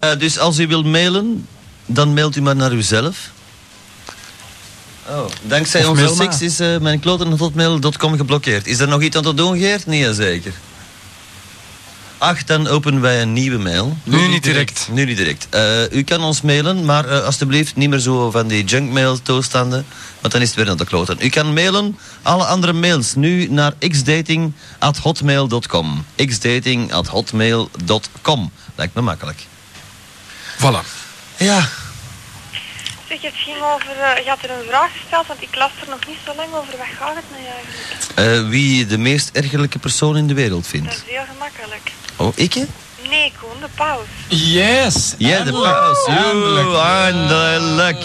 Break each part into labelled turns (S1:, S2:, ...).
S1: Eh, dus als u wilt mailen, dan mailt u maar naar uzelf. Oh, dankzij
S2: Of
S1: onze
S2: mail maar.
S1: seks is eh, mijn kloten.hotmail.com geblokkeerd. Is er nog iets aan te doen, Geert? Nee, zeker. Ach, dan openen wij een nieuwe mail.
S2: Nu niet direct.
S1: Nu niet direct. Eh, u kan ons mailen, maar eh, alstublieft niet meer zo van die junkmail toestanden. Want dan is het weer naar de kloten. U kan mailen alle andere mails nu naar xdating.hotmail.com. xdating.hotmail.com. Lijkt me makkelijk.
S2: Voilà.
S1: Ja,
S3: Zeg, het ging over... eh, je had er een vraag gesteld, want ik las er nog niet zo lang over. Wat gaat het nou eigenlijk?
S1: eh, wie je de meest ergerlijke persoon in de wereld
S3: Dat is
S1: vindt.
S3: heel gemakkelijk.
S1: Oh, ik hè?
S3: Nee, Koen, de pauze.
S2: Yes.
S1: Ja, de paus.
S2: Eindelijk.
S1: Oeh, Eindelijk.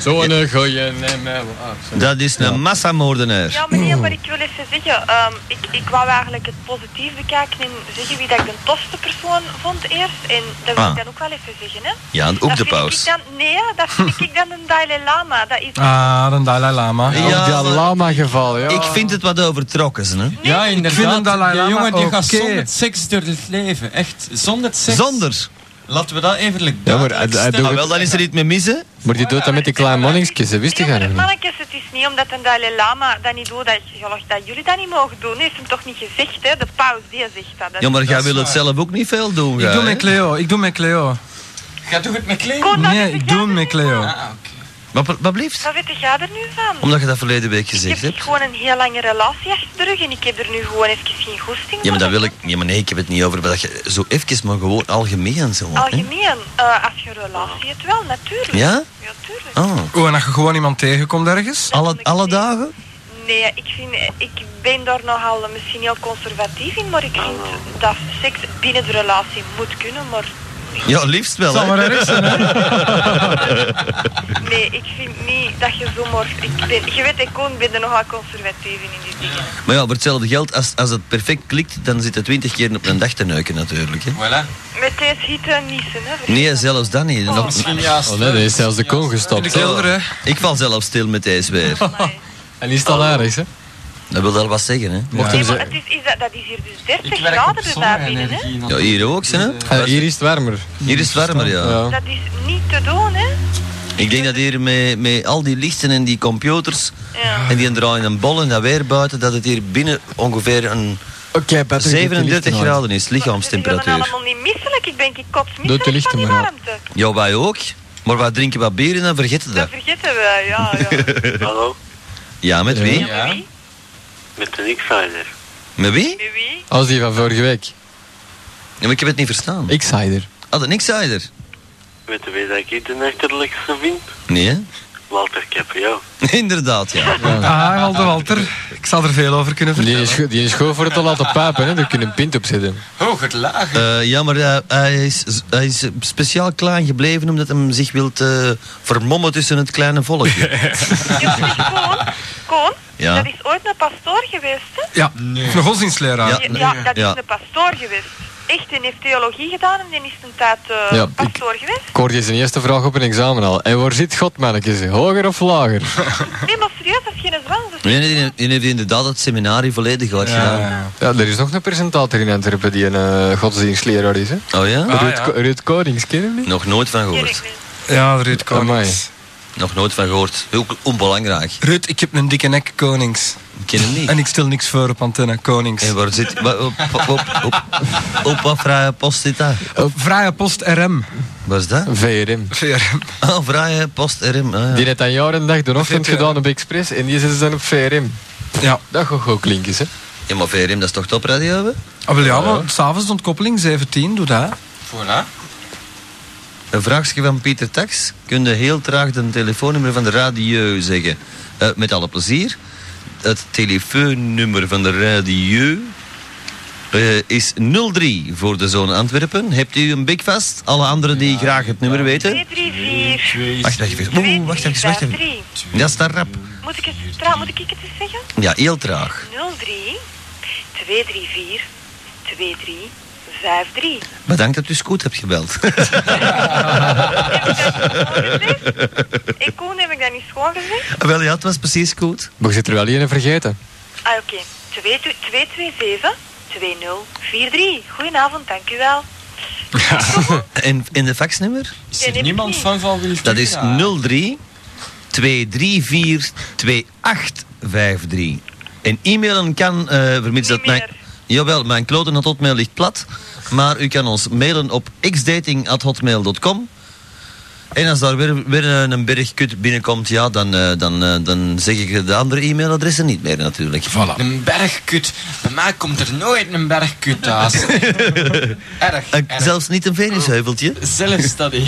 S2: Zo'n eh, goeie. Nee, nee, wel. Ah, sorry.
S1: Dat is een massamoordenaar.
S3: Ja, meneer, maar ik wil even zeggen, ehm, ik, ik wou eigenlijk het positief bekijken en zeggen wie dat ik de tofste persoon vond eerst. En dat wil
S1: Ah.
S3: ik dan ook wel even zeggen, hè.
S1: Ja, en ook
S3: dat
S1: de
S3: vind Ik
S1: paus.
S3: dan, nee, dat vind ik dan een Dalai Lama. Dat is...
S2: Ah, een Dalai Lama.
S1: Ja,
S4: Ja, dat
S1: maar-
S4: lama-geval, ja.
S1: Ik vind het wat overtrokken, ze, hè?
S3: Nee,
S5: Ja,
S3: ik-
S5: inderdaad.
S2: vind een Dalai
S5: die
S2: Lama
S5: jongen die gaat
S2: oké.
S5: zonder seks door het leven. Echt, zonder seks.
S1: Zonder.
S5: Laten we dat even
S4: Ja, maar
S5: duidelijk
S4: hij- hij
S5: stellen.
S4: doet
S1: Ah, wel, dan is er iets mee missen.
S4: Maar die doet dat met die kleine monningskjes, dat wist
S3: Nee,
S4: ik
S3: maar
S4: eigenlijk niet.
S3: mannetjes, het is niet omdat een Dalai Lama dat niet doet, dat, gelukkig dat jullie dat niet mogen doen. Heeft hem toch niet gezegd, hè? De paus, die zegt dat. dat
S1: Ja, maar
S3: is-
S1: jij wil het zelf ook niet veel doen,
S2: Ik
S1: gij,
S2: doe
S1: hè?
S2: met Cleo, ik doe met Cleo.
S5: Ga toch het met kleden?
S3: Kon Oh, dat
S2: Nee,
S3: weet
S2: ik
S3: jij
S2: doe
S3: er
S2: met
S3: nu van?
S2: Cleo.
S5: Ah, oké.
S1: Wat, wat blijft?
S3: Wat weet jij er nu van?
S1: Omdat je dat verleden week
S3: ik
S1: gezegd
S3: heb dus
S1: hebt.
S3: gewoon een heel lange relatie achter de rug en ik heb er nu gewoon even geen goesting
S1: Ja, maar dat
S3: van.
S1: wil ik... Ja, maar nee, ik heb het niet over dat je zo even, maar gewoon algemeen zo. hè?
S3: Algemeen, eh, als je een relatie hebt, wel, natuurlijk.
S1: Ja?
S3: Ja, tuurlijk.
S1: Ah,
S2: Oh, en als je gewoon iemand tegenkomt ergens?
S1: alle, alle dagen?
S3: Nee, ik, vind, ik ben daar nogal eh, misschien heel conservatief in, maar ik vind dat seks binnen de relatie moet kunnen, maar
S1: Ja, liefst wel,
S2: Zal
S1: hè?
S2: maar ergens zijn, hè?
S3: nee, ik vind niet dat je zomaar... Ik ben, je weet, ik Koen, ben er nogal conservatief in, in die dingen.
S1: Maar ja, voor hetzelfde geld, als, als het perfect klikt, dan zit het twintig keer op een dag te neuken natuurlijk. Hè?
S5: Voilà.
S3: Met deze hitte en niezen, hè. voor-
S1: Nee, zelfs dan niet. Nog-
S5: Misschien juist.
S4: Oh nee, dat is zelfs de koon gestopt.
S2: Cleo er, hè?
S1: ik val zelf stil met deze weer.
S3: Amai.
S4: En is het al aardig, hè?
S1: Dat wil wel wat zeggen, hè?
S2: Ja.
S3: Nee, maar het is, is dat, dat is hier dus 30
S5: Ik werk op
S3: graden er daar binnen, hè.
S5: zonne-energie.
S1: Ja, hier ook, hè?
S4: Eh, hier is het warmer.
S1: Hier is het warmer, ja.
S4: Ja.
S3: Dat is niet te doen, hè. Dus
S1: Ik denk dat hier met, met al die lichten en die computers
S3: Ja.
S1: en die draaiende bol en dat weer buiten, dat het hier binnen ongeveer een
S4: Oké, Patrick.
S1: 37 graden is,
S3: Ik ben
S1: lichaamstemperatuur.
S3: allemaal niet misselijk. Ik ben ik
S4: Doet de
S3: kotsmisselijk
S4: lichten
S3: van die
S4: maar uit.
S3: warmte.
S1: Ja, wij ook. Maar wij drinken wat bier en dan vergeten
S3: Dat
S1: dat.
S3: vergeten we, ja. ja.
S6: Hallo,
S1: Ja, met wie?
S3: ja. Met wie?
S6: met de Nixider.
S1: Met wie?
S3: Met wie?
S4: Als die van vorige week.
S1: Ja, maar ik heb het niet verstaan. Ah,
S4: Ik zei er.
S1: Had het niks uit.
S6: Weet je wie dat ik hier de achterlijkste vind?
S1: Nee, hè?
S6: Walter Caprio.
S1: Inderdaad, ja.
S2: Ah, Walter Walter. Ik zal er veel over kunnen
S4: Die
S2: vertellen.
S4: is, goed- die is goed voor het te laten papen, hè? Daar kun je een pint op zetten.
S5: Hoger, lager.
S1: Eh, ja, maar eh, hij, is, hij is speciaal klein gebleven omdat hij zich wilt eh, vermommen tussen het kleine volkje.
S3: Ja, zeg, Koon, Koon
S1: Ja.
S3: dat is ooit een pastoor geweest, hè?
S2: Ja, een godsdienstleraar.
S1: Ja.
S3: Ja, ja, dat
S1: Ja.
S3: is een pastoor geweest. Echt, en heeft theologie gedaan en die is een tijd eh,
S4: Ja, ik-
S3: pastoor geweest.
S4: Ik hoorde zijn eerste vraag op een examen al. En waar zit God, mannetjes? Hoger of lager?
S3: Nee, maar serieus, dat is geen zwans. dat is-
S1: Nee, nee, die heeft inderdaad het seminarie volledig hard
S2: Ja,
S1: gedaan.
S2: ja.
S4: Ja, er is nog een presentator in Antwerpen die een eh, godsdienstleraar is, hè?
S1: Oh ja?
S2: Ah,
S4: Ruud,
S2: ja.
S4: Ko- Ruud Konings, ken je hem niet?
S1: Nog nooit van
S3: Ken
S1: gehoord.
S3: ik niet.
S2: ja Ruud Konings.
S4: Amai.
S1: Nog nooit van gehoord. Heel onbelangrijk.
S2: Ruud, ik heb een dikke nek, Konings.
S1: Ik ken hem niet.
S2: En ik stel niks voor op antenne, Konings.
S1: En waar zit... wa- Op, op, op, op, op wat vrije post zit dat?
S2: Vrije post RM.
S1: Waar is dat?
S4: VRM.
S2: VRM.
S1: Ah, vrije post RM. ah, ja.
S4: Die heeft aan jaren en dag de ochtend
S2: VRM.
S4: gedaan op Express en die zit ze dan op VRM.
S2: eh, Ja.
S4: Dat gaat goed klinken, hè?
S1: Ja, maar VRM, dat is toch topradio, hè?
S2: Ah, wel ja, maar s'avonds ontkoppeling, 17, doe dat.
S5: Voilà.
S1: Een vraagje van Pieter Tax. Kun je heel traag de telefoonnummer van de radio zeggen? Eh, met alle plezier. Het telefoonnummer van de radio eh, is 03 voor de zone Antwerpen. Hebt u een big vast? Alle anderen die graag het nummer weten?
S3: 2, 3, 4,
S1: Wacht even. Oeh, wacht even, wacht even. Dat is te rap.
S3: Moet ik het, tra- moet ik het eens zeggen?
S1: Ja, heel traag.
S3: 03 234 2353.
S1: Bedankt dat u Scoot hebt gebeld.
S3: Ik Koen, heb ik dat niet schoon gezegd?
S1: Wel ja, het was precies Scoot.
S4: Maar je zit er wel één vergeten.
S3: Ah, oké. 227 2043. Goedenavond, dank u wel.
S1: En, en de faxnummer?
S5: Is
S3: Die
S5: er
S3: heb
S5: niemand
S3: ik
S5: van van Wilfried?
S1: Dat is
S5: Raak?
S1: 03 234 2853. En e-mailen kan, eh vermits
S3: Niet
S1: dat mijn...
S3: meer.
S1: Jawel, mijn kloten had hotmail ligt plat. Maar u kan ons mailen op xdating.hotmail.com. En als daar weer, weer een een berg kut binnenkomt, ja, dan, eh, dan, eh, dan zeg ik de andere e-mailadressen niet meer natuurlijk.
S2: Voilà.
S5: Een bergkut. Bij mij komt er nooit een bergkut thuis. erg,
S1: Eh,
S5: erg.
S1: zelfs niet een venusheuveltje.
S5: Zelfs dat hè.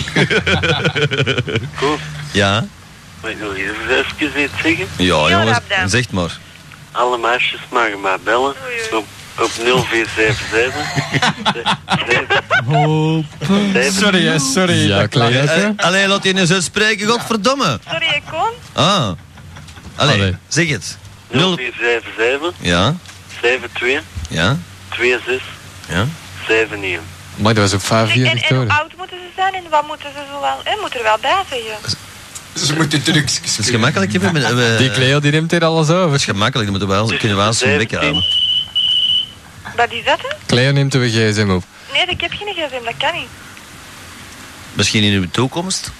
S6: Cool.
S1: Ja.
S6: Mag ik nog eens even iets zeggen?
S1: Ja,
S3: Ja,
S1: jongens,
S3: rap dan.
S1: zeg maar.
S6: Alle meisjes mogen mij bellen
S3: Oei, oei.
S6: op, op 0477. Sorry.
S5: Sorry, hè, sorry.
S4: Ja,
S5: dat
S4: klein.
S5: klap-
S1: Eh, Allee, laat je nu zo spreken, godverdomme.
S3: Sorry, ik kon.
S1: Ah. Allee,
S4: Allee.
S1: zeg het. Nul...
S6: 0477
S1: Ja,
S6: 72
S1: ja,
S6: 26
S1: ja.
S6: 71.
S4: Maar dat was op 5
S3: En,
S4: uur
S3: en hoe
S4: Ah, Victoria.
S3: oud moeten ze zijn en wat moeten ze zo wel... Ik moet er wel bij zeggen.
S5: Ze moeten drugs
S1: Het is gemakkelijk, je bent met- we-
S4: Die
S1: Het
S4: Cleo die neemt hier alles
S1: is
S4: over.
S1: gemakkelijk, dan moeten wij ons, kunnen wij ons een wekker halen.
S3: Wat is dat, hè?
S4: Cleo neemt de gsm op.
S3: Nee, ik heb geen gsm, dat kan niet.
S1: Misschien in uw toekomst.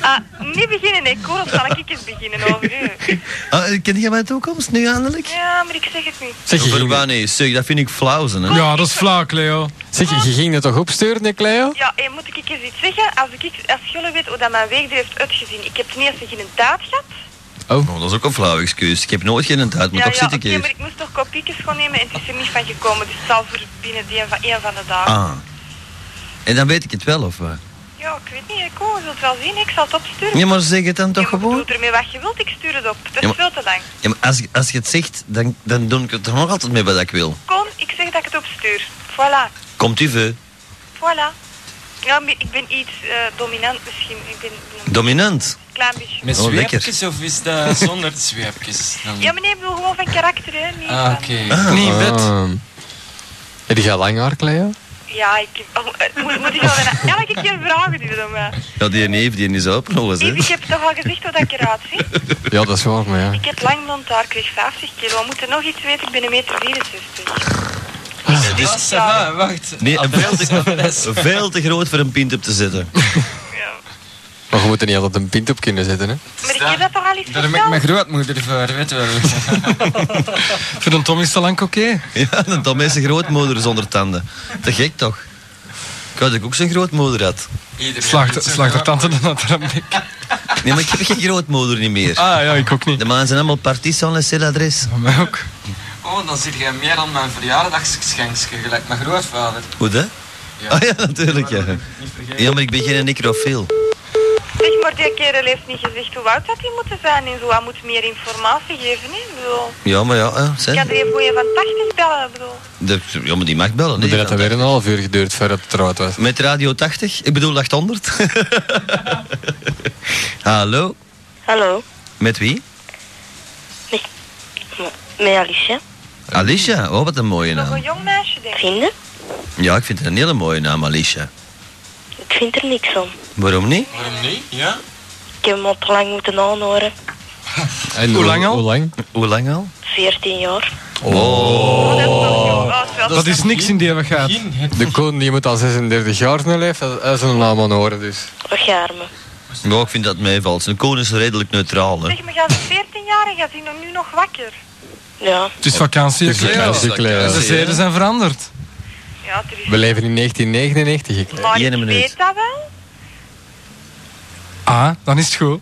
S3: Ah, niet beginnen, nee, Koen, dan zal ik eens beginnen over u.
S1: Ah, eh, ken jij mijn toekomst nu eindelijk?
S3: Ja, maar ik zeg het niet.
S4: Zeg, je
S1: Over
S4: ging,
S1: waar nee, zeg, dat vind ik flauwzen, hè.
S2: Ja, dat is flauw, Leo.
S4: zeg, je ging het toch opsturen, hè, Cleo?
S3: Ja, hé, moet ik eens iets zeggen? Als, ik, als jullie weten hoe dat mijn week er heeft uitgezien, ik heb ten eerste geen taart gehad.
S1: Oh, dat is ook een flauw excuus. Ik heb nooit geen tijd, maar
S3: ja,
S1: toch
S3: ja,
S1: zit
S3: oké,
S1: ik hier.
S3: maar ik moest toch kopiekjes gaan nemen en het is er niet van gekomen. Dus het zal voor binnen die een van, een van de dagen.
S1: Ah. En dan weet ik het wel, of wat?
S3: Ja, ik weet niet, hè, Koen, je zult wel zien, ik zal het opsturen.
S1: Ja, maar zeg het dan toch
S3: je moet-
S1: gewoon?
S3: doe ermee wat je wilt, ik stuur het op. Dat
S1: Ja,
S3: is
S1: maar-
S3: veel te lang.
S1: Ja, maar als, als je het zegt, dan, dan doe ik het er nog altijd mee wat ik wil.
S3: Koen, ik zeg dat ik het opstuur. Voilà,
S1: Komt u veel?
S3: voilà. Ja, maar ik ben iets eh, dominant misschien. Ik ben een
S1: Dominant.
S3: klein beetje...
S5: Met
S1: Oh, lekker.
S5: zweepjes of is dat zonder zweepjes? Dan...
S3: Ja, maar nee, ik bedoel gewoon van karakter, hè. Niet
S5: Ah,
S3: van-
S5: oké.
S2: Niet wit.
S4: Ah. Heb je lang haar, Cleo?
S3: Ja, ik... oh, eh, moet, moet ik wel bijna elke keer vragen die doen mij.
S1: Ja, die neef, die is open nog eens,
S3: Yves, ik
S1: hè.
S3: heb toch al gezegd hoe dat ik eruit zie?
S4: Ja, dat is waar, maar ja.
S3: Ik heb lang blond haar, ik kreeg 50 kilo. We moeten nog iets weten, ik ben een meter 64.
S5: Ah, ça va, wacht.
S1: dus- Nee, een veel,
S5: Adres.
S1: te, veel te groot voor een pint op te zetten.
S3: Ja.
S4: Maar je moet er niet altijd een pint op kunnen zetten, hè?
S3: Maar ik heb dat toch al eens
S5: Daar heb ik mijn
S3: verteld?
S5: grootmoeder voor, weet je wel.
S2: Voor een Tom is dat lang oké.
S1: Ja, dan Tom is zijn grootmoeder zonder tanden. Te gek toch? Ik wou dat ik ook zijn grootmoeder had.
S5: Iedereen
S2: Slaagt
S5: heeft zijn
S2: slaagt de
S5: grootmoeder.
S2: tante dan naar de
S1: Nee, maar ik heb geen grootmoeder niet meer.
S2: Ah ja, ik ook niet.
S1: De mannen zijn allemaal partisan en c'est l'adres.
S2: Van mij ook.
S5: Oh, dan zit jij meer aan mijn verjaardagsgeschenkje, gelijk mijn grootvader.
S1: Hoe dat?
S5: Ja.
S1: Ah ja, natuurlijk ja.
S5: Niet vergeten.
S1: Ja, maar ik ben geen necrofiel.
S3: Zeg, maar die kerel heeft niet gezegd hoe oud dat die moeten zijn en zo. Hij moet meer informatie geven, hè. Ik bedoel,
S1: Ja, maar ja, hè,
S3: ik
S1: zeg.
S3: kan er even goeie van 80 bellen, ik bedoel.
S1: De- Ja, maar die mag bellen.
S4: Maar dat had
S1: hè.
S4: weer een half uur geduurd voordat het eruit was.
S1: Met Radio 80, ik bedoel 800. Hallo,
S7: Hallo,
S1: met wie?
S7: met Alicia.
S1: Alicia, oh wat een mooie
S3: Nog een
S1: naam.
S3: jong meisje, denk ik.
S7: Vinden?
S1: Ja, ik vind het een hele mooie naam, Alicia.
S7: Ik vind er niks van.
S1: Waarom niet?
S5: Waarom niet? Ja?
S7: Ik heb hem al te lang moeten aanhoren.
S4: En
S2: Hoe lang al?
S4: Hoe lang?
S1: Hoe lang al?
S7: 14 jaar.
S3: Oh, dat is nog jong. Oh, wel.
S2: Dat is niks in die eeuwigheid.
S5: Begin het.
S4: De koning die moet al 36 jaar naar leeft, dat is een naam aan horen dus.
S7: Wat gaar me.
S1: Ja, ik vind dat meevalt. Zijn koning is redelijk neutraal, hè.
S3: Zeg, maar jij bent 14 jaar en jij bent nog- nu nog wakker.
S7: Ja,
S2: Het is eh, vakantie.
S4: Het is
S2: hè, Cleo.
S4: vakantie, Cleo.
S2: De zeden zijn veranderd.
S3: Ja, er is...
S4: We leven in 1999, ik leef.
S3: Maar
S1: Hier
S3: ik
S1: een minuut.
S3: weet dat wel.
S2: Ah, dan is het goed.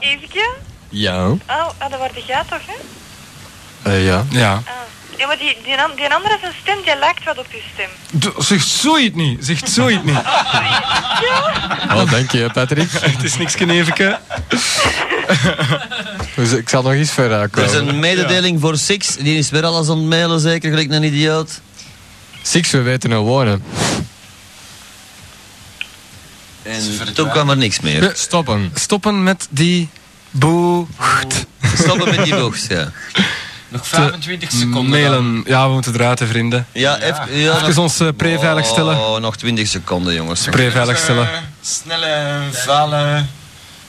S3: Eventje.
S4: Ja.
S3: Oh, ah, dat word jij toch, hè?
S4: Eh, ja.
S2: Ja.
S3: Ah. Ja, maar die, die, an- die andere zijn stem, die lijkt wat op je stem.
S2: D- Zeg zoiets niet. Zeg zoiets niet.
S4: Oh, dank je Patrick.
S2: Het is niks geneveke.
S4: Dus ik zal nog iets verder
S1: Er is
S4: komen.
S1: een mededeling voor Six. Die is weer alles aan het mailen, zeker. Gelijk een idioot.
S4: Six, we weten al wonen.
S5: Ze
S1: En
S5: verdwijnen.
S1: toen kwam er niks meer.
S4: Stoppen.
S2: Stoppen met die boegt.
S1: Stoppen met die bocht, ja.
S5: Nog 25 seconden.
S2: Mailen. Ja, we moeten eruit, hè, vrienden.
S1: Ja, even... Ja,
S2: Even ons eh, pre-veilig stellen.
S1: Oh, nog 20 seconden, jongens.
S2: Pre-veilig stellen.
S5: Eh, snelle, vale,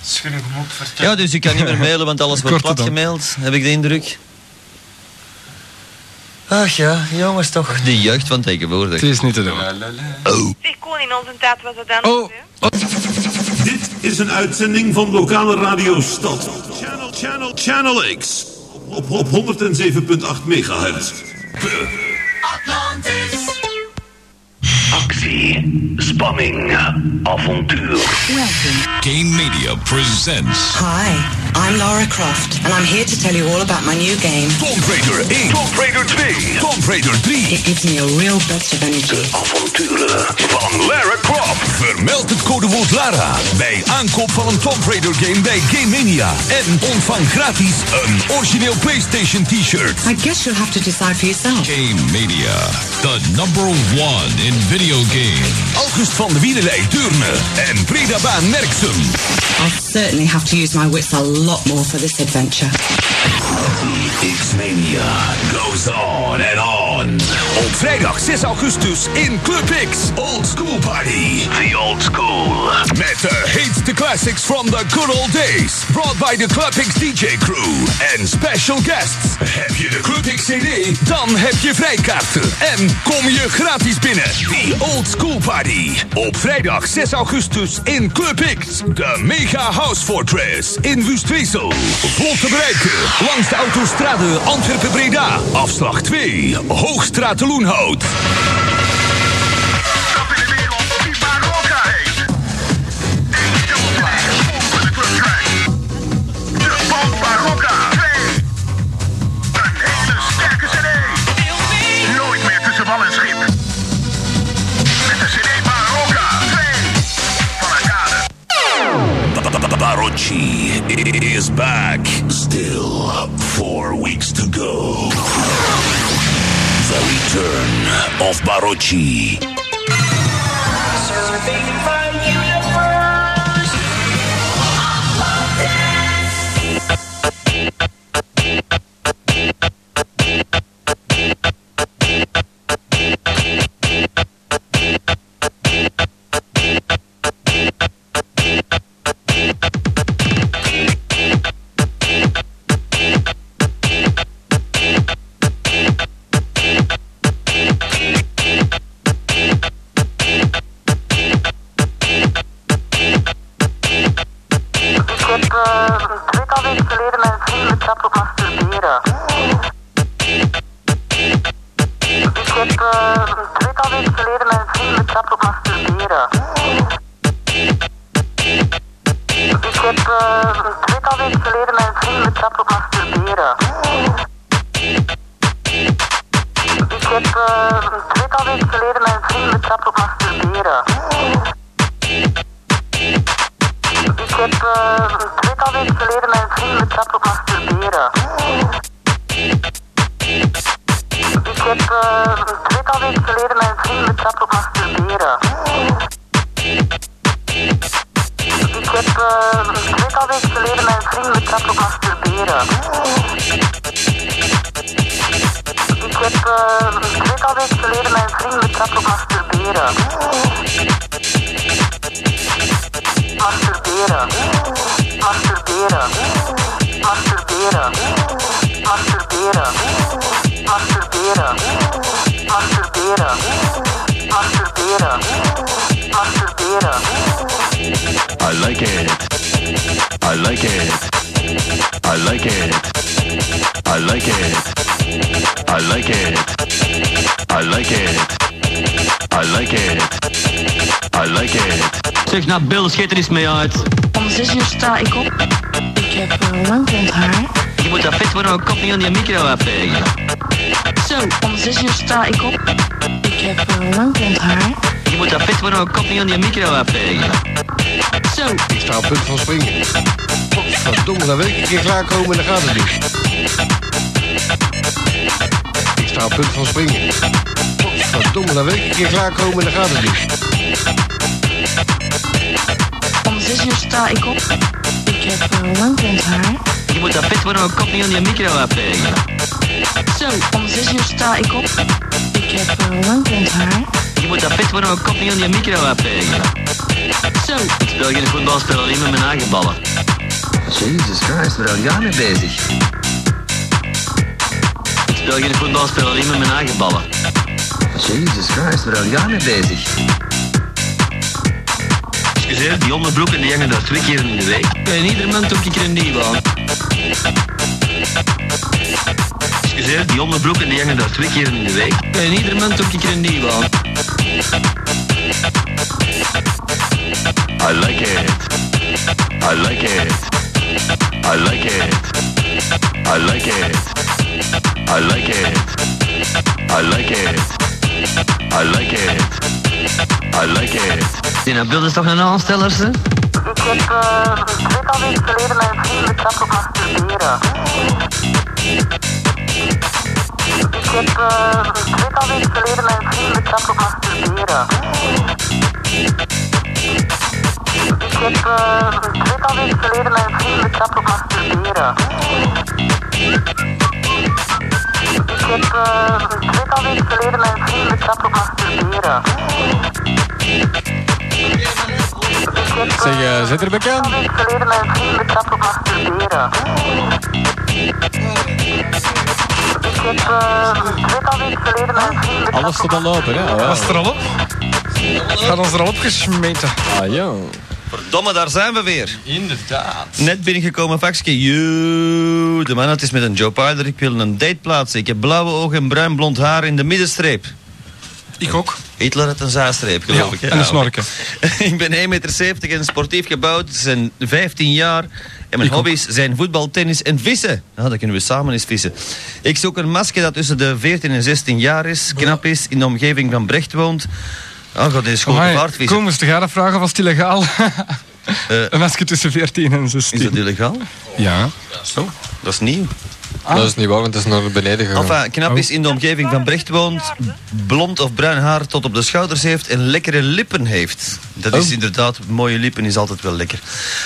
S5: schunnig mop vertellen.
S1: Ja, dus ik kan niet meer mailen, want alles wordt
S2: Korte dan.
S1: platgemaild. Heb ik de indruk. Ach ja, jongens toch. Die jeugd van
S2: Het
S1: tegenwoordig.
S2: is niet te doen.
S3: Zeg, Koen, in onze tijd was dat anders.
S2: Oh,
S3: hè?
S8: Dit is een uitzending van lokale radio Stad. Channel, channel, channel X. Op, op 107.8 megahertz.
S6: Actie, spanning, avontuur.
S9: Game Media presents
S10: Hi, I'm Laura Croft, and I'm here to tell you all about my new game.
S9: Tomb Raider 1,
S6: Tomb Raider 2.
S9: Tomb Raider 3.
S10: It gives me a real burst of energy.
S6: Avonturen van Lara Croft.
S9: Vermeld het codewoord Lara bij aankoop van een Tomb Raider game bij Game Mania. En ontvang gratis een origineel PlayStation t-shirt.
S10: I guess you'll have to decide for yourself.
S9: Game Media, the number one in video game. August van de Wielerlei Deurne en Breda Baan Merksem.
S10: I'll certainly have to use my wits a lot more for this adventure.
S9: X-Mania goes on and on. Op vrijdag 6 augustus in Club X. Old School Party.
S6: The old school.
S9: Met the hits the classics from the good old days. Brought by the Club X DJ crew. And special guests. Heb je de Club X CD? Dan heb je vrijkaarten. En kom je gratis binnen. The Old School Party. Op vrijdag 6 augustus in Club X. De Mega House Fortress in Wustwezel. Vlot te bereiken. Langs de autostrade Antwerpen-Breda. Afslag 2. Hoogstraat de Loenhout. Barucci is back. Still four weeks to go. The return of Barucci.
S10: Ik heb twintig weken geleden mijn vriend betrapt op masturberen. Ik heb twintig weken geleden mijn vriend betrapt op masturberen. Ik heb twintig weken geleden mijn vriend betrapt op masturberen. Ik heb twintig weken geleden mijn vriend betrapt op masturberen. Ik heb twintig weken geleden mijn vriend betrapt op masturberen. Ik heb twintig weken geleden mijn vriend betrapt op masturberen. Ik heb twintig weken geleden mijn vriend betrapt op masturberen. Ik heb twintig weken geleden mijn vriend betrapt op masturberen. Masturberen. Masturberen. Masturberen. Masturberen. Masturberen. Masturberen. Masturberen. Masturberen.
S9: I like it. I like it. I like it. I like it. I like it. I like it. I like it. I like it.
S5: Zeg, naar Bill, schiet er eens mee uit.
S7: Om zes uur sta ik op. Ik heb een lang blond haar.
S5: Je moet dat vet worden, kop niet aan die micro afvegen.
S7: Zo, om zes uur sta ik op. Ik heb een lang blond haar.
S5: Je moet dat vet worden, kop niet aan die micro afvegen.
S7: Zo,
S11: Ik sta op punt van springen. Verdomme, dan wil ik een keer klaarkomen en dan gaat het niet. Ik sta op punt van springen. Verdomme, dan wil ik een keer klaarkomen en dan gaat het niet.
S7: om zes uur sta ik op. Ik heb een lang blond haar.
S5: Je moet dat vet worden, kop niet aan die micro afvegen.
S7: Zo, om zes uur sta ik op. Ik heb een lang blond haar.
S5: Je moet dat vet worden, kop niet aan die micro afvegen. Zo. Ik speel geen voetbal, speel alleen met mijn eigen ballen. Jesus Christ, waar ben jij mee bezig? Ik speel geen voetbal, speel alleen met mijn eigen ballen.
S1: Jesus Christ, waar ben jij mee bezig?
S5: Excuseer, die onderbroeken die hangen daar twee keer in de week. En ieder moment ook een keer een nieuwe aan. Excuseer, die onderbroeken die hangen daar twee keer in de week. En ieder moment ook een keer een nieuwe aan.
S6: I like it. I like it. I like it. I like it. I like it. I like it. I like it. I like it.
S5: Die dat beeld is toch een aansteller, hè?
S10: Ik heb eh, een tweetal weken geleden mijn vriend betrapt op masturberen. Ik heb eh, een tweetal weken geleden mijn vriend betrapt op masturberen. Ik heb eh, een tweetal weken geleden mijn vriend betrapt op masturberen. Ik heb eh, een tweetal weken geleden mijn vriend betrapt op masturberen.
S4: Zeg, eh, zit er bekend?
S10: Ik heb geleden mijn vriend betrapt op masturberen. Ik heb eh, weet al weken geleden mijn vriend
S4: Alles tot al lopen, hè?
S2: Was het er al op? Gaat ons er al op gesmeten.
S4: Ah, ja.
S1: Verdomme, daar zijn we weer. Inderdaad. Net binnengekomen, faxje. Yo, de man, het is met een Joe Piler. Ik wil een date plaatsen. Ik heb blauwe ogen en bruin blond haar in de middenstreep.
S2: Ik ook.
S1: Hitler had een zaastreep, geloof
S2: Ja,
S1: ik. hè?
S2: en een
S1: Ah,
S2: snorken.
S1: ik ben 1,70 meter en sportief gebouwd, zijn 15 jaar. En mijn hobby's zijn voetbal, tennis en vissen. Ah, dan kunnen we samen eens vissen. Ik zoek een masker dat tussen de 14 en 16 jaar is, knap is, in de omgeving van Brecht woont. Ah, god, dit is gewoon gevaard vissen.
S2: Kom eens, te gaan vragen was het illegaal. Een masker tussen 14 en 16. Eh. Is
S1: dat illegaal?
S2: Ja.
S1: Zo, dat is nieuw.
S4: Dat is niet waar, want het is naar beneden gegaan.
S1: Enfin, knap is in de omgeving van Brecht woont, blond of bruin haar tot op de schouders heeft en lekkere lippen heeft. Dat is inderdaad, mooie lippen is altijd wel lekker.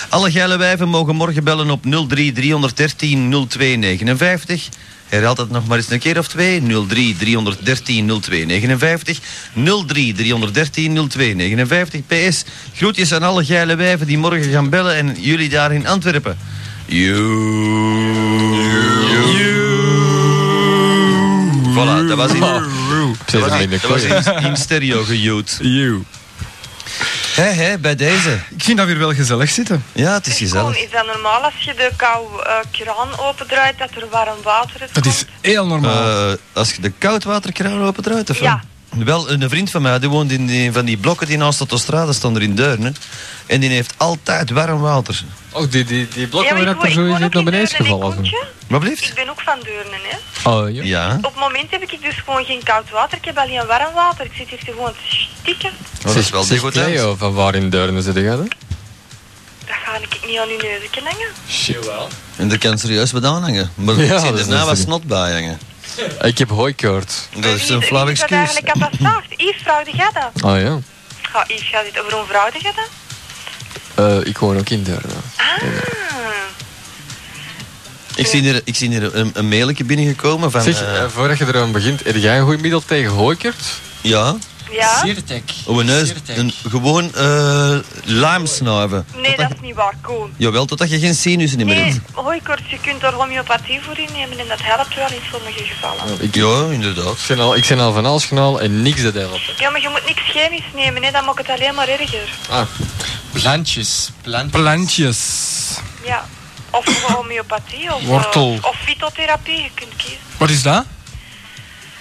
S1: Alle geile wijven mogen morgen bellen op 03 313 0259. Herhaal dat nog maar eens een keer of twee. 03 313 0259. 03 313 0259. PS, groetjes aan alle geile wijven die morgen gaan bellen en jullie daar in Antwerpen. Voilà, dat was in, dat was in, dat was in, in stereo gejood.
S2: You.
S1: Hé, hé, bij deze.
S2: Ik vind dat weer wel gezellig zitten.
S1: Ja, het is
S3: Gewoon, is dat normaal als je de koude eh, kraan opendraait dat er warm water is?
S2: Dat is heel
S1: Eh.
S2: normaal.
S1: als je de koudwaterkraan opent eruit, of
S3: Ja.
S1: wat? Wel, een vriend van mij, die woont in die- van die blokken die naast de autostrade staan er in Deurne. En die heeft altijd warm water.
S4: Oh, die, die, die
S3: Ja,
S4: blokken
S3: maar
S4: waar
S3: ik
S4: dat er zo
S3: woon- ik
S4: is
S3: woon
S4: uit naar
S3: ook in
S4: beneden
S3: Deurne,
S4: gevallen. dus.
S3: ik
S4: zijn.
S1: Wat blieft?
S3: Ik ben ook van Deurnen, hè.
S4: Oh, ja.
S1: Ja.
S3: Op het moment heb ik dus gewoon geen koud water. Ik heb alleen warm water. Ik zit hier gewoon te stikken.
S1: dat is wel
S4: zeg,
S1: degoutant.
S4: Cleo, van waar in Deurne zit jij dan?
S3: Dat ga ik niet aan uw neusje hangen.
S1: En daar kan serieus wat aan hangen. Maar
S4: Ja,
S1: ik zie
S4: dat is
S1: daarna wat
S4: natuurlijk-
S1: snot bij hangen.
S4: Ik heb hooikoord.
S1: Dat is een flauw
S3: Wie is dat
S1: excuus.
S3: eigenlijk dat dat zegt? Yves, vraag jij dat?
S4: Ah ja.
S3: Ga, Yves, ga dit over een vrouw jij dat?
S4: Eh, ik woon ook in Deurne.
S1: Ik zie hier, ik zie hier een, een mailtje binnengekomen van...
S4: Zeg,
S1: eh,
S4: eh, voordat je eraan begint, heb jij een goed middel tegen hooikoord?
S1: ja,
S3: Ja?
S1: oh, een neus, een, gewoon eh lijmsnuiven.
S3: Nee, dat is niet waar, Koen.
S1: Jawel, totdat je geen zenuwen meer hebt.
S3: Nee, hooikoorts, je kunt er homeopathie voor innemen en dat helpt wel in sommige gevallen.
S1: ja, inderdaad.
S4: Ik ben al, ik ben al van alles genaal en niks dat helpt.
S3: Ja, maar je moet niks chemisch nemen, hè, dan maakt het alleen maar erger.
S4: Ah.
S12: Plantjes. Plantjes.
S2: Plantjes.
S3: Ja. Of gewoon homeopathie of, eh,
S2: Wortel.
S3: of fytotherapie, je kunt kiezen.
S2: Wat is dat?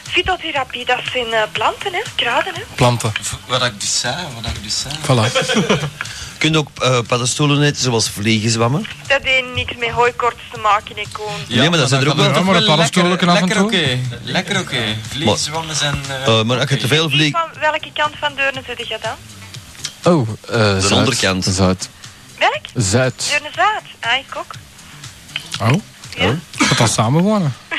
S3: Fytotherapie, dat zijn eh, planten, hè, kruiden. Hè.
S2: Planten.
S12: Wat ik dus zei, wat ik dus zei.
S2: Voilà.
S1: Je kunt ook eh, paddenstoelen eten, zoals vliegen zwammen.
S3: Dat heeft niks met hooikoorts te maken, hè, Koen.
S1: nee, maar dat zijn er ook wel.
S2: Ja, maar een paddenstoel ook af en
S12: Lekker
S2: toe.
S12: oké. Lekker oké. Vliegzwammen zijn... eh,
S1: Eh, maar als je te veel vliegt...
S3: Van welke kant van Deurne zit je dan?
S4: Oh, eh De
S1: onderkant.
S4: Zuid.
S3: Welk?
S4: Zuid.
S3: Deurne-Zuid. Ah, ik ook.
S2: Oh. Gaat dat samenwonen?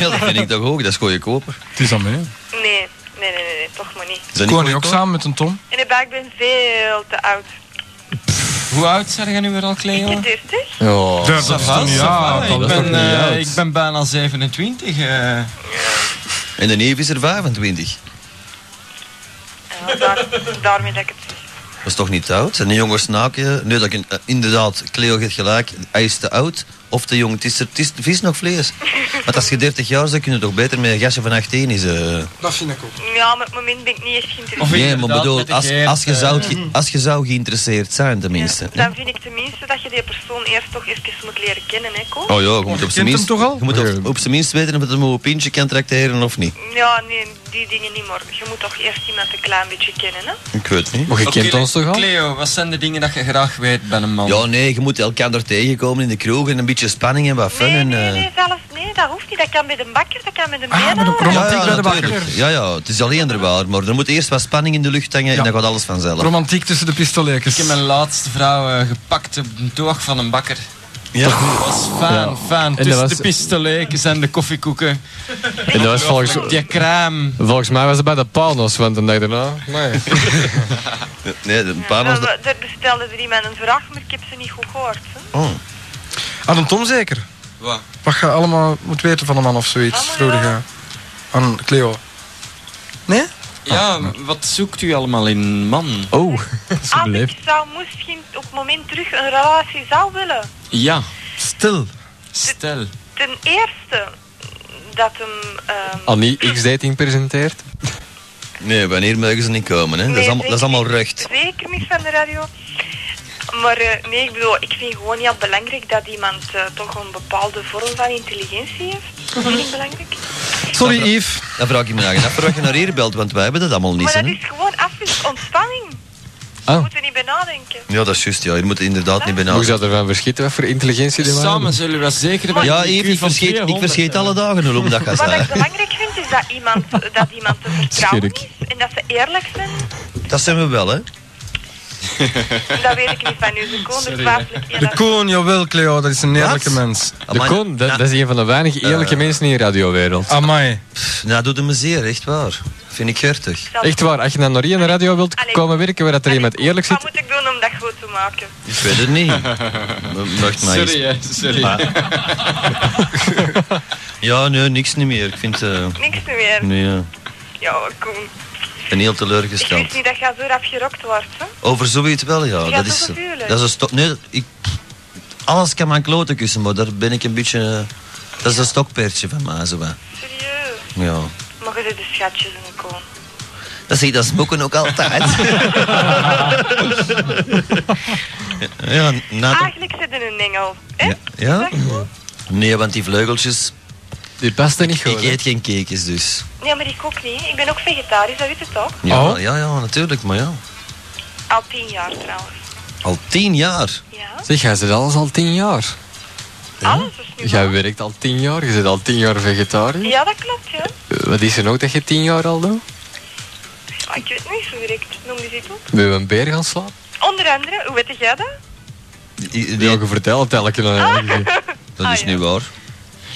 S1: ja, dat vind ik toch ook, dat is goeie koper.
S2: Het is aan mij.
S3: Nee, nee, nee, nee, nee, toch maar niet.
S1: Zijn die
S2: Kon je
S1: goeie
S2: ook samen met een Tom?
S3: En ik ben- ik ben veel te oud.
S12: Hoe oud zijn jij nu weer al, Cleo?
S3: Ik ben 30.
S4: Ja,
S2: dat is
S12: Ça va,
S2: toch niet
S12: ça va.
S2: oud, dat
S12: Ik
S2: is
S12: ben,
S2: toch niet
S12: eh,
S2: oud.
S12: Ik ben bijna 27. eh.
S1: En de neef is er 25.
S3: Ja, daar, daarmee dat ik het zeg.
S1: Dat is toch niet oud? Zijn die jongens naakje? Nee, dat kan, eh, inderdaad, Cleo heeft gelijk, hij is te oud. Of te jong. Het is, er, het is vis nog vlees. Want als je 30 jaar zou kunnen toch beter met een gastje van 18 is. eh.
S2: Dat vind ik ook.
S3: Ja, maar op het moment ben ik niet echt geïnteresseerd.
S1: Nee, maar bedoel, als, als, je zou, ge- als je zou geïnteresseerd zijn tenminste. hè.
S3: Dan vind ik tenminste dat je die persoon eerst toch even moet leren kennen, hè, Ko?
S1: Oh ja, je moet op zijn minst, je moet op, op zijn minst weten of het hem op een pintje kan tracteren of niet.
S3: Ja, nee, die dingen niet meer. Je moet toch eerst iemand een klein beetje kennen, hè?
S1: Ik weet niet.
S12: Oké, Cleo, wat zijn de dingen dat je graag weet bij een man?
S1: Ja, nee, je moet elkaar er tegenkomen in de kroeg en een beetje spanning en wat fun.
S3: Nee,
S1: en,
S3: nee,
S1: eh,
S3: nee, zelfs nee, dat hoeft niet. Dat kan bij de bakker, dat kan met een benen.
S1: ja, ja, natuurlijk. Ja, ja, het is alleen er waar, maar er moet eerst wat spanning in de lucht hangen en dan gaat alles vanzelf.
S2: Romantiek tussen de pistoletjes.
S12: Ik heb mijn laatste vrouw eh, gepakt op een toog van een bakker.
S1: Ja.
S12: Dat was fijn,
S4: Ja. En
S12: fijn.
S4: dat
S12: Tussen
S4: was-
S12: de pistoletjes en de koffiekoeken.
S4: En dat was volgens,
S12: Die crème.
S4: volgens mij was het bij de Panos, want dan dacht ik, nou, maar
S1: Nee, de
S3: Ja, we- er Eh, bestelde er iemand een vraag, maar ik heb ze niet goed gehoord. Hè?
S2: Aan Ah, een Tom zeker?
S12: Wat?
S2: Wat je allemaal moet weten van een man of zoiets. Vroeger. ja. Aan Cleo. Nee?
S1: Ah.
S12: Ja, wat zoekt u allemaal in man?
S4: Oh,
S12: zo beleefd.
S3: Ik zou misschien op het moment terug een relatie zou willen.
S12: Ja.
S2: Stil.
S12: Stel.
S3: Ten eerste dat hem... ehm,
S4: Annie X-dating presenteert.
S1: Nee, wanneer mogen ze niet komen, hè? dat,
S3: nee,
S1: is allemaal, dat is
S3: zeker
S1: allemaal
S3: niet-
S1: recht.
S3: Zeker niet van de radio. Maar eh, nee, ik bedoel, ik vind gewoon heel belangrijk dat iemand eh, toch een bepaalde vorm van intelligentie heeft. Dat vind ik belangrijk.
S1: Sorry, Yves. Dan vraag ik me nou af waar je naar hier belt, want wij hebben dat allemaal niet.
S3: maar dat
S1: hè?
S3: is gewoon afwis ontspanning.
S1: Ah.
S3: We moeten niet bij nadenken.
S1: Ja, dat is juist, ja. Je moet inderdaad niet benaderen.
S4: Hoe zou ervan verschieten? Wat voor intelligentie die waren?
S12: Samen zullen we dat zeker bij
S1: Ja,
S12: een
S1: Yves,
S12: IQ
S1: ik
S12: van
S1: verscheet, ik
S12: 200
S1: verscheet alle dagen hoe om dat gaat
S3: Wat
S1: zijn.
S3: ik belangrijk vind is dat iemand, dat iemand te vertrouwen
S1: Schurk.
S3: is en dat ze eerlijk zijn.
S1: Dat zijn we wel, hè?
S3: En dat weet ik niet van u. De koon, de twijfel ik heel
S2: De koon, jawel Cleo, dat is een eerlijke mens.
S4: De Koen, dat, dat is een van de weinige
S1: Eh.
S4: eerlijke mensen in de radiowereld.
S2: Amai.
S1: Nou, doet hem me zeer, echt waar. Vind ik gertig.
S4: Echt waar, als je naar Norrie in de radio wilt komen werken waar dat er iemand eerlijk
S3: Wat
S4: zit,
S3: moet ik doen om dat goed te maken?
S1: Ik weet het niet. Mocht mij eens-
S12: Sorry, hè, sorry.
S1: Maar- Ja, nee, niks niet meer. Ik vind... eh,
S3: Niks meer.
S1: nee, ja.
S3: Ja, Koen.
S1: Ik ben heel
S3: Ik wist
S1: teleurgesteld.
S3: niet dat je zo rap gerokt wordt. Hè?
S1: Over zoiets wel, ja.
S3: Ja,
S1: dat
S3: toch
S1: is,
S3: natuurlijk.
S1: dat is een stok... Nee, ik, alles kan mijn kloten kussen, maar daar ben ik een beetje... eh, dat is een stokpertje van mij, zo wat.
S3: Serieus.
S1: Ja.
S3: Mogen ze de schatjes in de koon?
S1: Dat zie je dat smoken ook altijd. ja, na de-
S3: Eigenlijk zit er een engel.
S1: ja? Nee, want die vleugeltjes...
S4: Die pasten niet
S1: goed. Ik eet geen cakejes dus.
S3: Nee, maar ik ook niet. Ik ben ook vegetarisch, dat weet je toch?
S1: Ja, ja, ja, natuurlijk, maar ja.
S3: Al tien jaar trouwens.
S1: Al tien jaar.
S4: zeg, jij zit alles al tien jaar.
S3: Alles is nu
S4: Jij werkt al tien jaar, je zit al tien jaar vegetariër.
S3: Ja, dat klopt, ja.
S4: Eh, Wat is er nog dat je tien jaar al doet?
S3: Ah, Ik weet niet zo direct. Noem eens iets op.
S4: Wil je een beer gaan slaan?
S3: Onder andere, hoe weet jij dat?
S4: Ja, je vertelt elke keer. aan je.
S1: Dat is niet waar.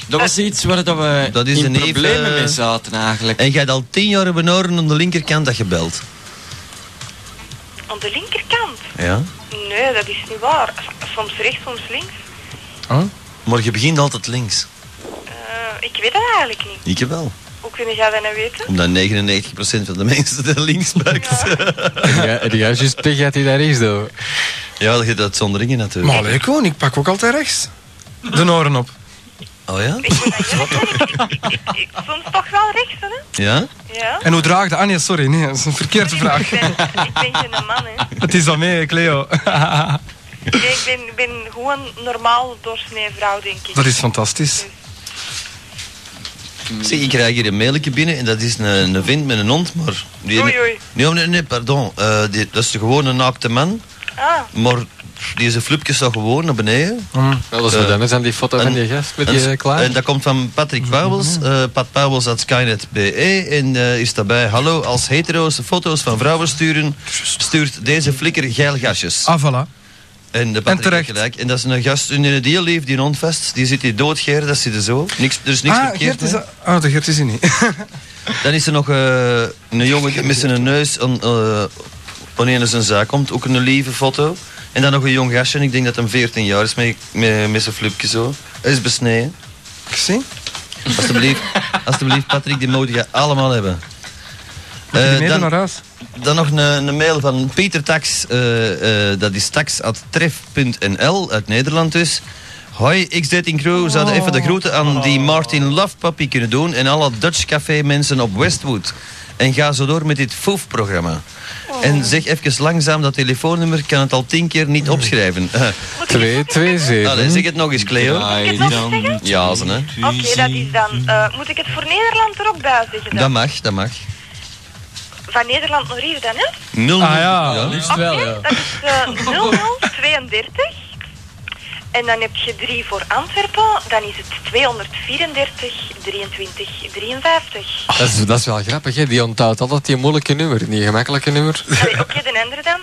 S12: Dat was iets waar dat we
S1: Dat is
S12: in
S1: een neef,
S12: problemen
S1: eh,
S12: mee zaten eigenlijk.
S1: En jij hebt al tien jaar hebben oren aan de linkerkant dat je belt.
S3: Aan de linkerkant?
S1: Ja.
S3: Nee, dat is niet waar. S- Soms rechts, soms links.
S1: Maar je begint altijd links.
S3: Eh, ik weet dat eigenlijk niet.
S1: Ik wel.
S3: Hoe kun jij dat nou weten?
S1: Omdat 99% van de mensen de links buikt. Ah.
S4: Ja, en jij is juist pech dat hij daar is, doe.
S1: Ja, dat gaat uitzonderingen natuurlijk.
S2: Maar leuk gewoon, ik pak ook altijd rechts. De oren op.
S1: Oh ja?
S3: Soms toch wel rechts, hè?
S1: Ja?
S3: Ja.
S2: En hoe draagde Anja? Sorry, nee, dat is een verkeerde vraag.
S3: Ik ben geen man, hè.
S2: Het is al mee, Cleo.
S3: Nee, ik ben, ben gewoon normaal doorsnee vrouw, denk ik.
S2: Dat is fantastisch.
S1: Zie, ik krijg hier een mailje binnen en dat is een, een vent met een hond, maar... Die,
S3: Oei, oei.
S1: Nee, nee, nee, pardon. Eh, die- dat is gewoon een naakte man,
S3: Ah,
S1: maar die zijn flupjes staat gewoon naar beneden.
S4: Wel, dat is
S1: Eh,
S4: wat anders dan die foto van
S1: en-
S4: die gast met
S1: en-
S4: die eh, klaar.
S1: En dat komt van Patrick Pauwels, eh Pat Pauwels at Skynet.be. En eh, is daarbij, hallo, als hetero's foto's van vrouwen sturen, stuurt deze flikker geil gastjes.
S2: Ah, voilà.
S1: En, de Patrick heeft Gelijk. En dat is een gast, een deel leeft die hond vast, die zit hier doodgeer, dat zit er zo. Niks, er is niks
S2: ah,
S1: verkeerd
S2: Gert is...
S1: mee.
S2: dat- Ah, de Gert is hier niet.
S1: Dan is er nog eh, een jongen die met zijn neus aan, eh, wanneer er zijn zaak komt, ook een lieve foto. En dan nog een jong gastje, ik denk dat hem 14 jaar is, met, met, met zijn flupje zo. Hij is besneden.
S2: Ik zie.
S1: Alsjeblieft, alsjeblieft Patrick, die moet je allemaal hebben.
S2: Mag je die
S1: Eh,
S2: meedoen naar huis?
S1: dan nog een, een mail van Peter Tax, eh, eh, dat is tax.tref.nl uit Nederland dus. Hoi, X13 Crew. Zouden even de groeten aan die Martin Love Puppy kunnen doen en alle Dutch Café mensen op Westwood. En ga zo door met dit FOEF-programma.
S4: Oh.
S1: En zeg even langzaam dat telefoonnummer, ik kan het al tien keer niet opschrijven. 227. Allee, zeg het nog eens, Cleo.
S12: Ah,
S1: Ja, ze, hè.
S3: Oké, dat is dan. eh, moet ik het voor Nederland er ook bij zeggen?
S1: Dat
S3: Dan?
S1: mag, dat mag.
S3: Van Nederland naar hier dan, hè?
S1: Nul.
S13: Ah ja,
S1: Ja.
S13: liefst wel, ja.
S3: Dat is eh, 0032. En dan heb je 3 voor Antwerpen. Dan is het 234, 23, 53.
S4: Dat is, dat is wel grappig, hè? die onthoudt altijd die moeilijke nummer, die gemakkelijke nummer.
S3: Allee, Oké, de andere dan.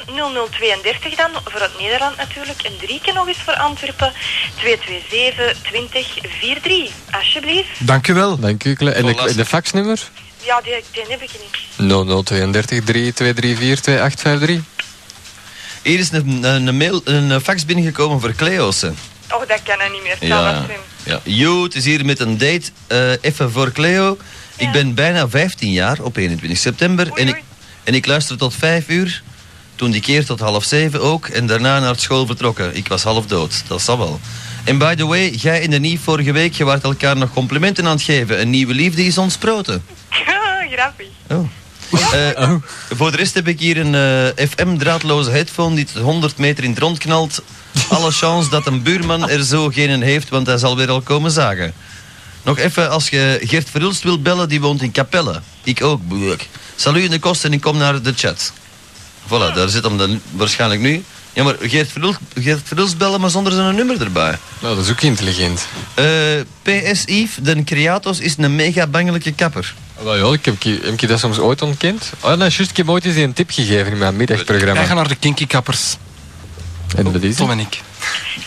S3: 0032 dan, voor het Nederland natuurlijk. En drie keer nog eens voor Antwerpen. 227, 20, 43. Alsjeblieft.
S2: Dankjewel.
S4: Dank u, Cleo. En de, en de faxnummer?
S3: Ja, die, die heb ik niet.
S4: 0032 3234 2853.
S1: Hier is een, een, een mail, een eh, fax binnengekomen voor Cleo's.
S3: Oh, dat kan er niet meer. Ja.
S1: Ja. ja. Yo, het is hier met een date. eh, even voor Cleo. Ik ben bijna 15 jaar op 21 september. en, ik, en ik luister tot 5 uur. Toen die keer tot half 7 ook. En daarna naar school vertrokken. Ik was half dood. Dat zal wel. En by the way, jij en de Nief vorige week, je waart elkaar nog complimenten aan het geven. Een nieuwe liefde is ontsproten.
S3: Grappig.
S1: Oh. Eh, Voor de rest heb ik hier een eh, FM draadloze headphone die het 100 meter in het rond knalt. Alle kans dat een buurman er zo geen heeft, want hij zal weer al komen zagen. Nog even, als je Gert Verhulst wilt bellen, die woont in Capelle. Ik ook, boek. Salut in de kost en ik kom naar de chat. Voilà, daar zit hem dan waarschijnlijk nu. Ja, maar Geert Verhulst, Geert Verhulst bellen, maar zonder zijn nummer erbij.
S4: Nou, dat is ook intelligent.
S1: Eh, PS Yves, de Creatos is een mega bangelijke kapper.
S4: Ah, Wel ja, ik heb, ik- heb ik dat soms ooit ontkend. Oh, nee, juist, ik heb ooit eens een tip gegeven in mijn middagprogramma.
S2: Wij gaan naar de kinky kappers.
S4: En dat is
S2: Tom en ik.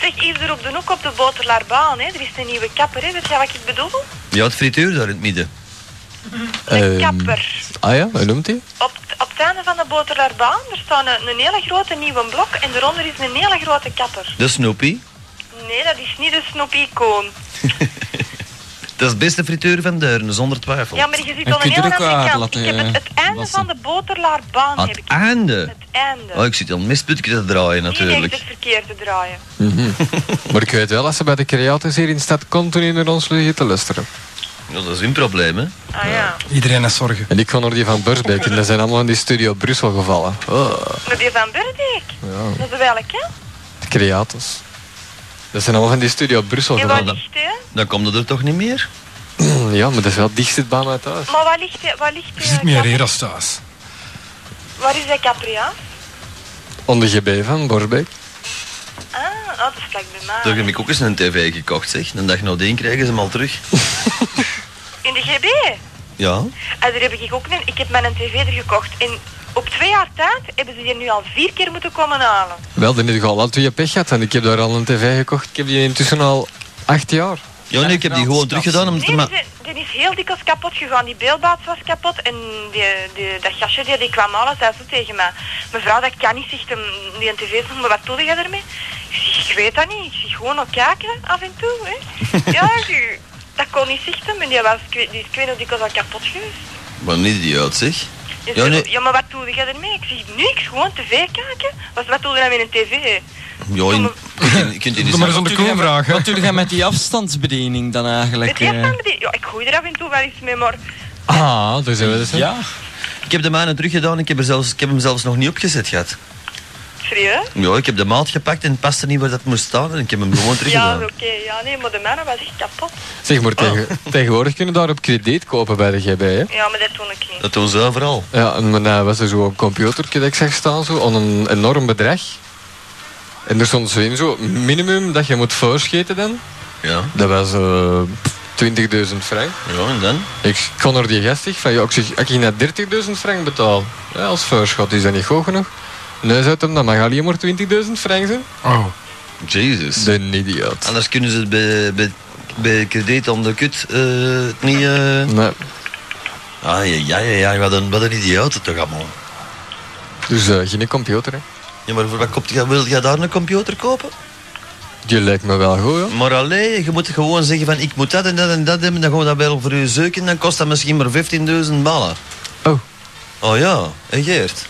S3: Zeg, even er op de hoek op de Boterlaarbaan, hè. Er is een nieuwe kapper, hè. Weet jij wat ik bedoel?
S1: Ja, het frituur daar in het midden.
S4: Ehm,
S13: Ehm,
S3: Een kapper.
S4: ah ja, hoe noemt hij?
S3: Op het einde van de Boterlaarbaan, er staat een, een hele grote nieuwe blok en daaronder is een hele grote kapper.
S1: De Snoopy.
S3: Nee, dat is niet de Snoopy-icoon.
S1: Dat is het beste frituur van Deurne, zonder twijfel.
S3: Ja, maar je ziet al een hele andere kant. Ik heb het, het einde van de Boterlaarbaan,
S1: Aan
S3: heb
S1: het
S3: ik.
S1: einde.
S3: Het einde.
S1: Oh, ik zit al een misputje te draaien
S3: Die heeft
S1: natuurlijk.
S3: het verkeerd te draaien.
S4: Mhm. maar ik weet wel, als ze bij de creators hier in stad continu naar ons liggen te luisteren.
S1: Ja, dat is hun probleem, hè.
S3: Ah ja.
S2: Iedereen is zorgen.
S4: En ik ga naar die van Bursbeek en dat zijn allemaal in die studio Brussel gevallen. Oh,
S3: Maar die van Burdick,
S4: ja,
S3: dat is welke?
S4: de creators. Dat zijn allemaal van die studio Brussel
S3: En waar
S4: gevallen.
S3: ligt die?
S1: Dan komt het er toch niet meer?
S4: ja, maar dat is wel het dichtst bij mij thuis.
S3: Maar waar ligt die? Waar, ligt die
S4: Zit
S3: kapper?
S4: hier als thuis.
S3: waar is die kapper, ja?
S4: Onder GB van Borbeek.
S3: Ah, oh, dat is vlak bij mij.
S1: Daar heb ik ook eens een tv gekocht, zeg. Een dag nadien krijgen ze hem al terug.
S3: In de GB?
S1: Ja.
S3: En Ah, daar heb ik ook een, ik heb mijn tv er gekocht. En op twee jaar tijd hebben ze die nu al vier keer moeten komen halen.
S4: Wel, dan heb je al twee pech gehad en ik heb daar al een tv gekocht. Ik heb die intussen al acht jaar.
S1: Ja, nee, ik heb die gewoon teruggedaan om te
S3: Nee,
S1: maken.
S3: ze- die is heel dikwijls kapot gegaan. Die beeldbaat was kapot en die, die, dat gastje die, die kwam alles zei zo tegen mij. Mevrouw, dat kan niet, zegt hem, die een tv is nog, maar wat doe je ermee? Ik zeg, ik weet dat niet. Ik zeg, gewoon op kijken af en toe. Hè. ja, je- dat kon niet zichten, maar die, was, ik weet- die is ik weet nog dikwijls al kapot geweest.
S1: Wat een idioot, zeg.
S3: En
S1: Ja,
S3: ze-
S1: nee.
S3: ja, maar wat doe je ermee? Ik zeg, niks, gewoon tv kijken. Wat, wat doe je dan met een tv?
S1: Ja, in, je kunt in
S13: maar eens aan de koe vragen.
S12: Wat doe jij met die afstandsbediening dan eigenlijk?
S3: Met die
S12: eh?
S3: afstandsbediening- Ja, ik gooi er af en toe wel iets mee, maar...
S4: Ah, daar zijn we dus.
S12: Ja.
S1: Ik heb de mijne teruggedaan, ik heb, er zelfs, ik heb hem zelfs nog niet opgezet gehad.
S3: Serieus?
S1: Ja, ik heb de maat gepakt en het paste niet waar dat moest staan en ik heb hem gewoon
S3: Ja,
S1: teruggedaan.
S3: oké. Ja, nee, maar de mannen was echt kapot.
S4: Zeg maar, tegen, tegenwoordig kunnen daar op krediet kopen bij de GB, hè?
S3: Ja, maar dat toen ik niet.
S1: Dat doen ze overal.
S4: Ja, en dan eh, was er zo'n computertje dat ik zag staan, zo, aan een enorm bedrag. En er stond zo in, zo, minimum dat je moet voorscheten dan.
S1: Ja.
S4: Dat was eh, 20.000 frank.
S1: Ja, en dan?
S4: Ik kon naar die gast zeggen van, ja, ik zeg, als ik net 30.000 frank betaal, ja, als voorschot, is dat niet goed genoeg? Nee, zei hem, dan mag alleen maar 20.000 frank zijn.
S2: Oh.
S1: Jezus.
S4: De idioot.
S1: Anders kunnen ze het bij, bij, bij krediet aan de kut eh, het niet... eh,
S4: Nee.
S1: Ah, ja, ja, ja, wat een, wat een idioten toch allemaal.
S4: Dus eh, geen computer, hè.
S1: Ja, maar voor wat koopt je, wil jij daar een computer kopen?
S4: Die lijkt me wel goed, hoor.
S1: Maar alleen, je moet gewoon zeggen van ik moet dat en dat en dat hebben, dan gaan we dat wel voor u zoeken, dan kost dat misschien maar 15.000 ballen.
S4: Oh.
S1: Oh ja, en Geert?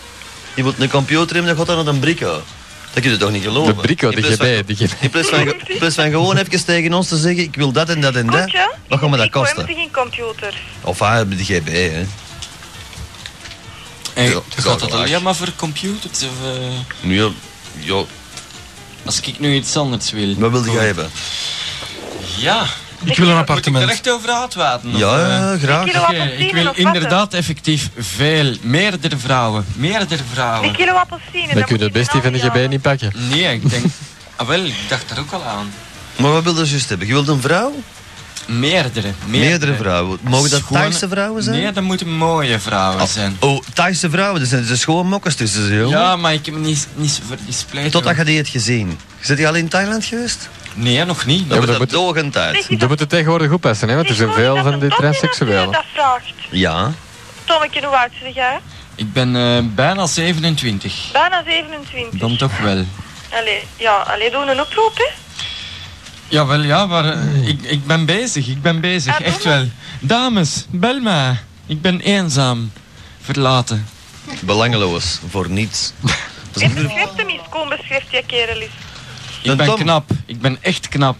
S1: Je moet een computer hebben, dan gaat dat naar een brico. Dat kun je toch niet geloven?
S4: De brico,
S1: In
S4: de
S1: plaats van-
S4: GB, de GB.
S1: In plaats van, ge- in plaats van gewoon even tegen ons te zeggen, ik wil dat en dat en dat.
S3: Goedje,
S1: Wat gaat me dat
S3: ik heb
S1: kosten?
S3: geen computers.
S1: Of ah, de GB, hè.
S12: En
S1: Ja,
S12: Eh, gaat dat
S1: gelijk.
S12: alleen maar voor computers? Of, eh,
S1: Ja, ja.
S12: Als ik nu iets anders wil.
S1: Wat wilde jij hebben?
S12: Ja.
S2: Ik wil een
S12: Moet ik
S2: appartement.
S12: er echt over uitwaten? of,
S1: Ja,
S12: eh?
S1: ja, graag. Een kilo
S12: Oké,
S3: appelsinen
S12: Ik wil
S3: of wat, hè?
S12: inderdaad effectief veel. Meerdere vrouwen. Meerdere
S1: Oh.
S3: Een
S12: vrouwen.
S3: kilo appelsine.
S4: Dan kun je het best die van de GB niet pakken.
S12: Nee, ik denk... ah, wel, ik dacht er ook al aan.
S1: Maar wat wilde je juist hebben? Je wilt een vrouw?
S12: Meerdere.
S1: Meerdere vrouwen. Mogen dat
S12: Schone-
S1: Thaise vrouwen zijn?
S12: Nee, dat moeten mooie vrouwen
S1: Oh,
S12: zijn.
S1: Oh, Thaise vrouwen, er zijn er zijn gewoon mokkers tussen ze, jongen.
S12: Ja, maar ik heb niet, niet zo voor die splijt.
S1: Totdat je die hebt gezien. Zit je al in Thailand geweest?
S12: Nee, nog niet.
S1: Dat
S4: maar
S1: wordt
S4: dat
S1: dat dogend uit.
S4: Dat moet het tegenwoordig oppassen, hè, want er zijn veel van die
S3: Ja,
S4: transseksuelen.
S3: Oh, dat vraagt.
S1: Ja.
S3: Tommeke, hoe oud zeg jij?
S12: Ik ben eh, bijna 27.
S3: Bijna 27.
S12: Dan toch wel.
S3: Allee, ja, allee, doe een oproep, hè.
S12: Jawel, ja, maar eh, ik, ik ben bezig, ik ben bezig, echt wel. Dames, bel mij. Ik ben eenzaam, verlaten.
S1: Belangeloos, voor niets.
S3: En beschrijf hem eens, kom, beschrijf die kerel eens.
S12: Ik ben knap, ik ben echt knap.